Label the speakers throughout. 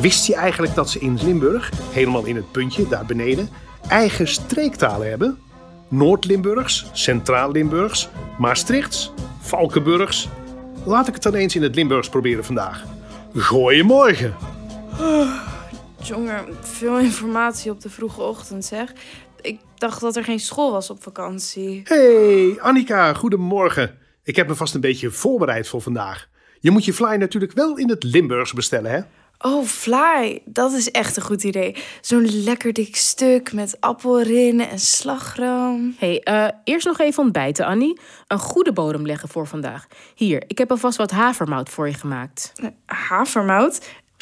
Speaker 1: wist hij eigenlijk dat ze in Limburg, helemaal in het puntje daar beneden, eigen streektalen hebben? Noord-Limburgs, Centraal-Limburgs, Maastrichts, Valkenburgs. Laat ik het dan eens in het Limburgs proberen vandaag. Goeiemorgen.
Speaker 2: Jongen, veel informatie op de vroege ochtend, zeg. Ik dacht dat er geen school was op vakantie.
Speaker 1: Hey, Annika, goedemorgen. Ik heb me vast een beetje voorbereid voor vandaag. Je moet je fly natuurlijk wel in het Limburgs bestellen, hè?
Speaker 2: Oh, fly. Dat is echt een goed idee. Zo'n lekker dik stuk met appel erin en slagroom.
Speaker 3: hey, eh, eerst nog even ontbijten, Annie. Een goede bodem leggen voor vandaag. Hier, ik heb alvast wat havermout voor je gemaakt.
Speaker 2: Eh, Havermout.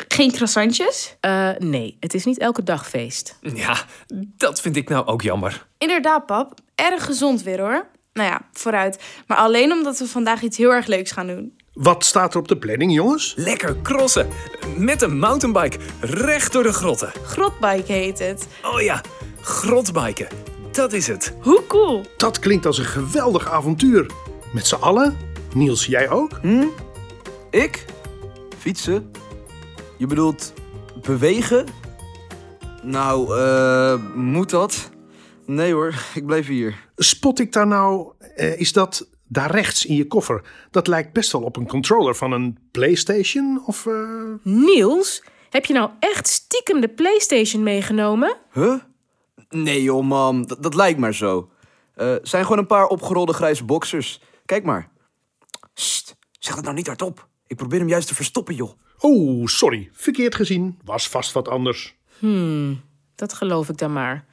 Speaker 2: Geen croissantjes?
Speaker 3: Eh, nee, het is niet elke dag feest.
Speaker 4: Ja, dat vind ik nou ook jammer.
Speaker 2: Inderdaad, pap. Erg gezond weer, hoor. Nou ja, vooruit. Maar alleen omdat we vandaag iets heel erg leuks gaan doen.
Speaker 1: Wat staat er op de planning, jongens?
Speaker 4: Lekker crossen. Met een mountainbike recht door de grotten.
Speaker 2: Grotbike heet het.
Speaker 4: Oh ja, grotbiken. Dat is het.
Speaker 2: Hoe cool!
Speaker 1: Dat klinkt als een geweldig avontuur. Met z'n allen? Niels, jij ook?
Speaker 5: Ik? Fietsen? Je bedoelt bewegen? Nou, eh, moet dat? Nee hoor, ik blijf hier.
Speaker 1: Spot ik daar nou, eh, is dat daar rechts in je koffer? Dat lijkt best wel op een controller van een PlayStation of. eh,
Speaker 3: Niels, heb je nou echt stiekem de PlayStation meegenomen?
Speaker 5: Huh? Nee joh, mam, dat, dat lijkt maar zo. Eh zijn gewoon een paar opgerolde grijze boxers. Kijk maar. Sst, zeg dat nou niet hardop. Ik probeer hem juist te verstoppen, joh.
Speaker 1: Oh, sorry, verkeerd gezien. Was vast wat anders.
Speaker 3: Dat geloof ik dan maar.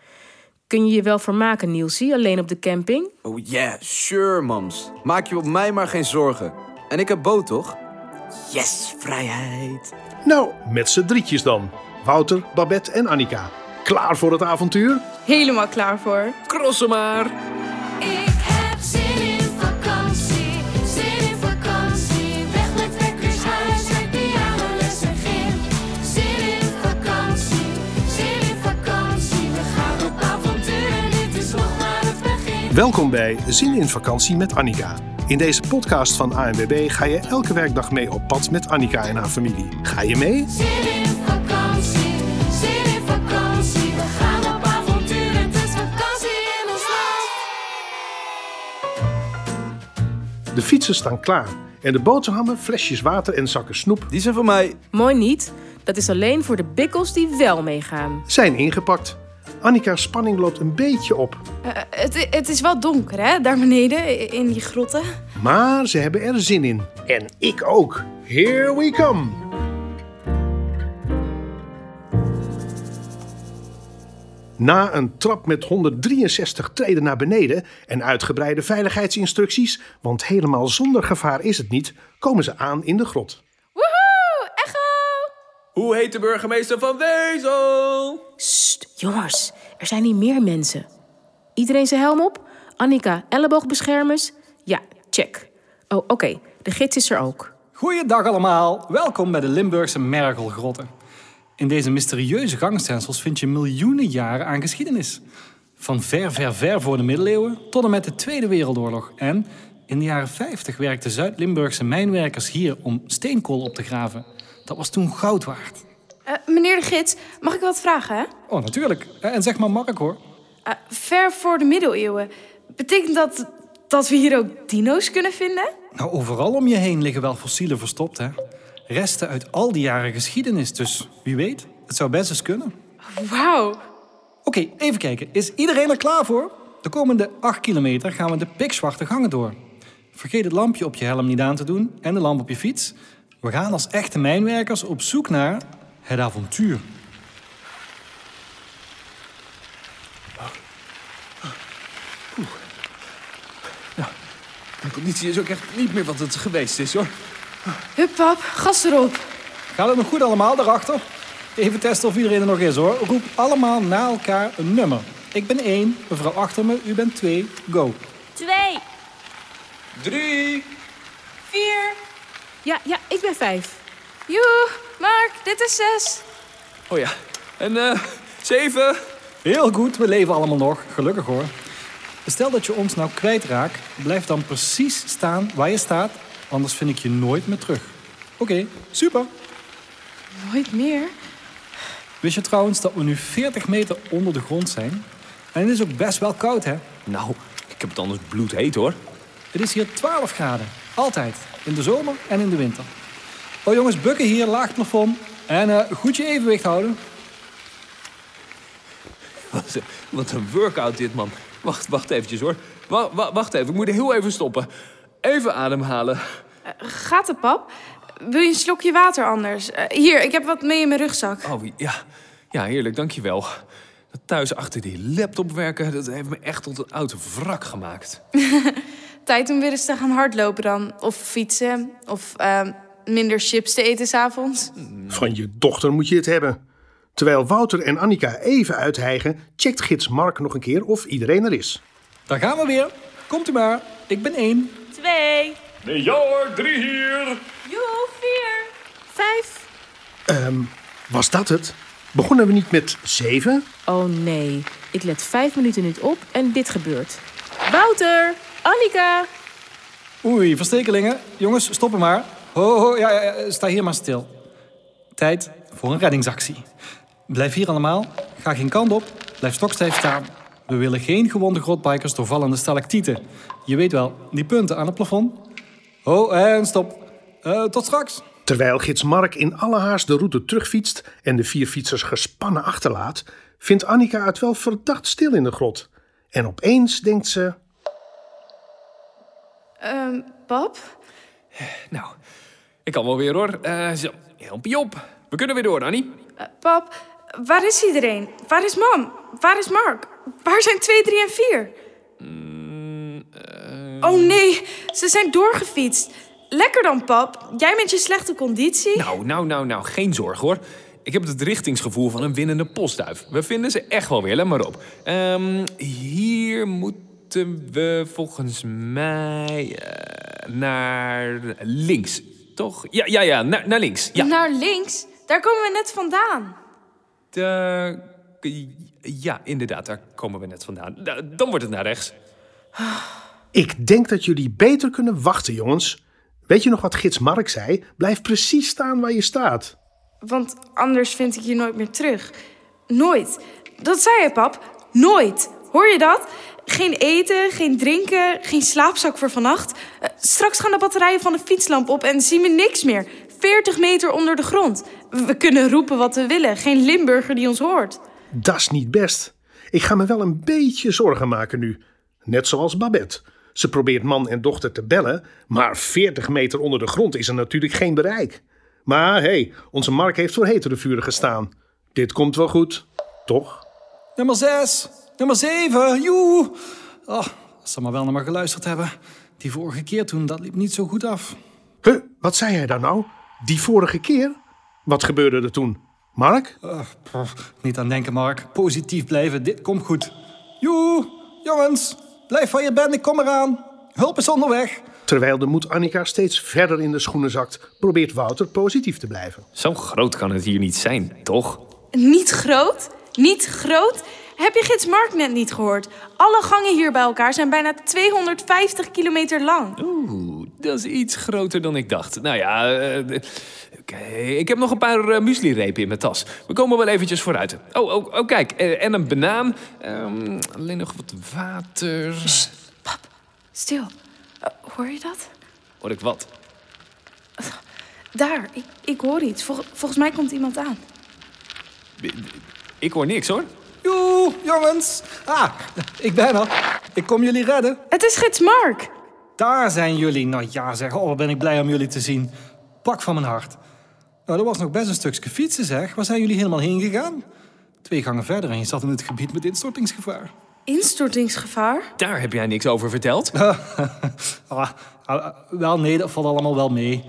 Speaker 3: Kun je je wel vermaken, Nielsie, alleen op de camping?
Speaker 5: Oh yeah, sure, mams. Maak je op mij maar geen zorgen. En ik heb Bo, toch? Yes, vrijheid.
Speaker 1: Nou, met z'n drietjes dan. Wouter, Babette en Annika. Klaar voor het avontuur?
Speaker 2: Helemaal klaar voor.
Speaker 4: Crossen maar.
Speaker 6: Ik heb zin in vakantie, zin in vakantie. Weg met wekkers, huis uit, pianoles en gym. Zin in vakantie, zin in vakantie. We gaan op avontuur en dit is nog maar het begin.
Speaker 1: Welkom bij Zin in Vakantie met Annika. In deze podcast van ANWB ga je elke werkdag mee op pad met Annika en haar familie. Ga je mee?
Speaker 6: Zin in vakantie, zin in vakantie. We gaan op avontuur, het is vakantie in ons land.
Speaker 1: De fietsen staan klaar. En de boterhammen, flesjes water en zakken snoep
Speaker 5: Die zijn van mij.
Speaker 3: Mooi niet. Dat is alleen voor de bikkels die wel meegaan.
Speaker 1: zijn ingepakt. Annika's spanning loopt een beetje op.
Speaker 2: Eh, het, het is wel donker, hè? Daar beneden, i- in die grotten.
Speaker 1: Maar ze hebben er zin in. En ik ook. Here we come. Na een trap met 163 treden naar beneden en uitgebreide veiligheidsinstructies, want helemaal zonder gevaar is het niet, komen ze aan in de grot.
Speaker 2: Woehoe! Echo!
Speaker 4: Hoe heet de burgemeester van Wezel?
Speaker 3: Sst, jongens, er zijn hier meer mensen. Iedereen zijn helm op? Annika, elleboogbeschermers? Ja, check. Oh, oké, de gids is er ook.
Speaker 7: Goeiedag allemaal, welkom bij de Limburgse Mergelgrotten. In deze mysterieuze gangstensels vind je miljoenen jaren aan geschiedenis. Van ver, ver, ver voor de middeleeuwen tot en met de Tweede Wereldoorlog. En in de jaren 50 werkten Zuid-Limburgse mijnwerkers hier om steenkool op te graven. Dat was toen goud waard.
Speaker 2: Eh, meneer de gids, mag ik wat vragen? Hè?
Speaker 7: Oh, natuurlijk. En zeg maar Mark hoor.
Speaker 2: Eh, ver voor de middeleeuwen. Betekent dat dat we hier ook dino's kunnen vinden?
Speaker 7: Nou, overal om je heen liggen wel fossielen verstopt, hè. Resten uit al die jaren geschiedenis, dus wie weet, het zou best eens kunnen.
Speaker 2: Wauw.
Speaker 7: Oké, even kijken. Is iedereen er klaar voor? De komende 8 kilometer gaan we de pikzwarte gangen door. Vergeet het lampje op je helm niet aan te doen en de lamp op je fiets. We gaan als echte mijnwerkers op zoek naar het avontuur.
Speaker 4: Mijn conditie is ook echt niet meer wat het geweest is hoor.
Speaker 2: Hup pap, gas erop.
Speaker 7: Gaat het nog goed allemaal daarachter? Even testen of iedereen er nog is hoor. Roep allemaal na elkaar een nummer. Ik ben 1, mevrouw achter me, u bent 2, go.
Speaker 6: Twee,
Speaker 4: Drie.
Speaker 2: Vier.
Speaker 3: Ja, ja, ik ben vijf.
Speaker 2: Joe, Mark, dit is zes.
Speaker 4: Oh ja. En eh zeven.
Speaker 7: Heel goed, we leven allemaal nog. Gelukkig hoor. Stel dat je ons nou kwijtraakt, blijf dan precies staan waar je staat, anders vind ik je nooit meer terug. Oké, super.
Speaker 2: Nooit meer.
Speaker 7: Wist je trouwens dat we nu 40 meter onder de grond zijn? En het is ook best wel koud, hè?
Speaker 8: Nou, ik heb het anders bloedheet hoor.
Speaker 7: Het is hier 12 graden. Altijd. In de zomer en in de winter. Oh jongens, bukken hier, laag plafond. En eh, goed je evenwicht houden.
Speaker 8: Wat, wat een workout dit, man. Wacht, wacht eventjes hoor. Wa- wa- wacht even, ik moet heel even stoppen. Even ademhalen.
Speaker 2: Gaat het, pap? Wil je een slokje water anders? Eh, hier, ik heb wat mee in mijn rugzak.
Speaker 8: Oh, ja. Ja, heerlijk, dankjewel. Dat thuis achter die laptop werken, dat heeft me echt tot een oud wrak gemaakt.
Speaker 2: Tijd om weer eens te gaan hardlopen dan. Of fietsen. Of ehm, minder chips te eten s'avonds.
Speaker 1: Van je dochter moet je het hebben. Terwijl Wouter en Annika even uithijgen, checkt gids Mark nog een keer of iedereen er is.
Speaker 7: Daar gaan we weer. Komt u maar. Ik ben één.
Speaker 9: Twee.
Speaker 10: Nee, ja hoor, drie hier.
Speaker 9: Joe, vier. Vijf.
Speaker 1: Was dat het? Begonnen we niet met zeven?
Speaker 3: Oh nee, ik let vijf minuten niet op en dit gebeurt. Wouter, Annika.
Speaker 7: Oei, verstekelingen. Jongens, stoppen maar. Ho, ho, ja, ja, ja, sta hier maar stil. Tijd voor een reddingsactie. Blijf hier allemaal. Ga geen kant op. Blijf stokstijf staan. We willen geen gewonde grotbikers door vallende stalactieten. Je weet wel, die punten aan het plafond. Ho, en stop. Eh, tot straks.
Speaker 1: Terwijl gids Mark in alle haast de route terugfietst en de vier fietsers gespannen achterlaat, vindt Annika het wel verdacht stil in de grot. En opeens denkt ze:
Speaker 2: Ehm, pap?
Speaker 8: Nou, ik kan wel weer hoor. Eh, zo, help je op. We kunnen weer door, Annie.
Speaker 2: Eh, pap, waar is iedereen? Waar is mam? Waar is Mark? Waar zijn 2, 3 en 4?
Speaker 8: Mm, eh,
Speaker 2: Oh nee, ze zijn doorgefietst. Lekker dan, pap. Jij met je slechte conditie.
Speaker 8: Nou, nou, nou, nou, geen zorgen hoor. Ik heb het richtingsgevoel van een winnende postduif. We vinden ze echt wel weer, let maar op. Ehm, hier moeten we volgens mij eh, naar links, toch? Ja, ja, ja, naar, naar links. Ja,
Speaker 2: Naar links, daar komen we net vandaan.
Speaker 8: Daar- ja, inderdaad, daar komen we net vandaan. Da- Dan wordt het naar rechts.
Speaker 1: Ik denk dat jullie beter kunnen wachten, jongens. Weet je nog wat gids Mark zei? Blijf precies staan waar je staat.
Speaker 2: Want anders vind ik je nooit meer terug. Nooit. Dat zei je, pap. Nooit. Hoor je dat? Geen eten, geen drinken, geen slaapzak voor vannacht. Eh, straks gaan de batterijen van de fietslamp op en zien we niks meer. 40 meter onder de grond. We kunnen roepen wat we willen. Geen Limburger die ons hoort.
Speaker 1: Dat is niet best. Ik ga me wel een beetje zorgen maken nu. Net zoals Babette. Ze probeert man en dochter te bellen, maar 40 meter onder de grond is er natuurlijk geen bereik. Maar hé, hey, onze Mark heeft voor hetere vuren gestaan. Dit komt wel goed, toch?
Speaker 7: Nummer 6, nummer 7, joe. Oh, als ze maar wel naar me geluisterd hebben. Die vorige keer toen, dat liep niet zo goed af.
Speaker 1: Huh, wat zei hij daar nou? Die vorige keer? Wat gebeurde er toen? Mark?
Speaker 7: Eh, pff, niet aan denken, Mark. Positief blijven, dit komt goed. Joe, jongens, blijf waar je bent, ik kom eraan. Hulp is onderweg.
Speaker 1: Terwijl de moed Annika steeds verder in de schoenen zakt, probeert Wouter positief te blijven.
Speaker 8: Zo groot kan het hier niet zijn, toch?
Speaker 2: Niet groot? Niet groot? Heb je gids Mark net niet gehoord? Alle gangen hier bij elkaar zijn bijna 250 kilometer lang.
Speaker 8: Oeh, dat is iets groter dan ik dacht. Nou ja, eh, eh, oké, ik heb nog een paar eh, muesli-repen in mijn tas. We komen wel eventjes vooruit. Oh, oh, oh kijk, eh, en een banaan. Ehm, alleen nog wat water.
Speaker 2: Stil. Eh, hoor je dat?
Speaker 8: Hoor ik wat?
Speaker 2: Daar, ik, ik hoor iets. Vol- volgens mij komt iemand aan.
Speaker 8: Ik hoor niks hoor.
Speaker 7: Joe, jongens. Ah, ik ben er. Ik kom jullie redden.
Speaker 2: Het is gids Mark.
Speaker 7: Daar zijn jullie. Nou ja, zeg, oh, wat ben ik blij om jullie te zien. Pak van mijn hart. Nou, dat was nog best een stukje fietsen, zeg. Waar zijn jullie helemaal heen gegaan? Twee gangen verder en je zat in het gebied met instortingsgevaar.
Speaker 2: Instortingsgevaar?
Speaker 8: Daar heb jij niks over verteld.
Speaker 7: Ah, ah, wel, nee, dat valt allemaal wel mee.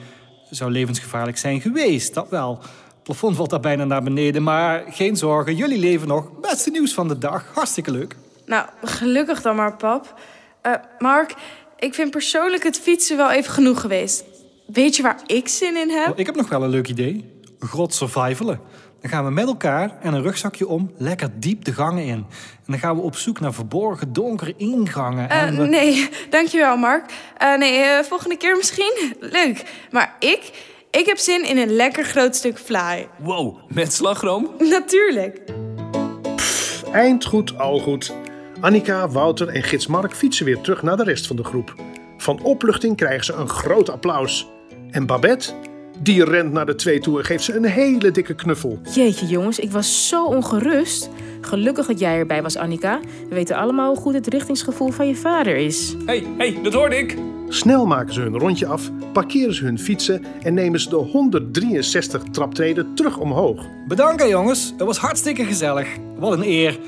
Speaker 7: Zou levensgevaarlijk zijn geweest, dat wel. Het plafond valt daar bijna naar beneden, maar geen zorgen, jullie leven nog. Beste nieuws van de dag, hartstikke leuk.
Speaker 2: Nou, gelukkig dan maar, pap. Eh, Mark, ik vind persoonlijk het fietsen wel even genoeg geweest. Weet je waar ik zin in heb?
Speaker 7: Oh, ik heb nog wel een leuk idee. Grot survivalen. Dan gaan we met elkaar en een rugzakje om lekker diep de gangen in. En dan gaan we op zoek naar verborgen, donkere ingangen.
Speaker 2: Eh,
Speaker 7: en we-
Speaker 2: nee, dankjewel, Mark. Eh, nee, eh, volgende keer misschien. Leuk. Maar ik, Ik heb zin in een lekker groot stuk vlaai.
Speaker 8: Wow, met slagroom?
Speaker 2: Natuurlijk.
Speaker 1: Eind goed, al goed. Annika, Wouter en gids Mark fietsen weer terug naar de rest van de groep. Van opluchting krijgen ze een groot applaus. En Babette, die rent naar de twee toe en geeft ze een hele dikke knuffel.
Speaker 3: Jeetje jongens, ik was zo ongerust. Gelukkig dat jij erbij was, Annika. We weten allemaal hoe goed het richtingsgevoel van je vader is.
Speaker 8: hey, hey, dat hoorde ik.
Speaker 1: Snel maken ze hun rondje af, parkeren ze hun fietsen en nemen ze de 163 traptreden terug omhoog.
Speaker 7: Bedankt jongens, het was hartstikke gezellig. Wat een eer.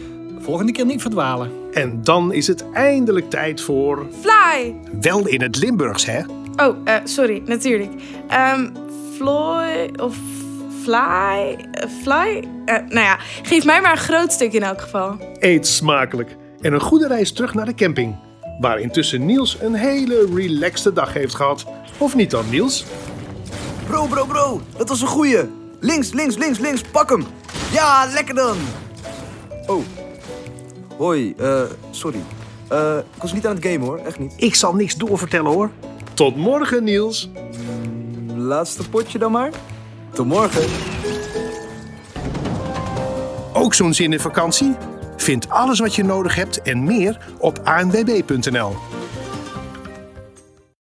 Speaker 7: Volgende keer niet verdwalen.
Speaker 1: En dan is het eindelijk tijd voor.
Speaker 2: Fly!
Speaker 1: Wel in het Limburgs, hè?
Speaker 2: Oh, eh, sorry, natuurlijk. Ehm Floy of Fly? eh, fly? Eh, nou ja, geef mij maar een groot stuk in elk geval.
Speaker 1: Eet smakelijk en een goede reis terug naar de camping. Waar intussen Niels een hele relaxte dag heeft gehad. Of niet dan, Niels?
Speaker 5: Bro, bro, bro. Dat was een goeie. Links, links, links, links. Pak hem. Ja, lekker dan. Oh. Hoi, eh, sorry. Eh, ik was niet aan het gamen hoor, echt niet.
Speaker 1: Ik zal niks doorvertellen hoor. Tot morgen, Niels.
Speaker 5: Laatste potje dan maar. Tot morgen.
Speaker 1: Ook zo'n zin in vakantie? Vind alles wat je nodig hebt en meer op anwb.nl.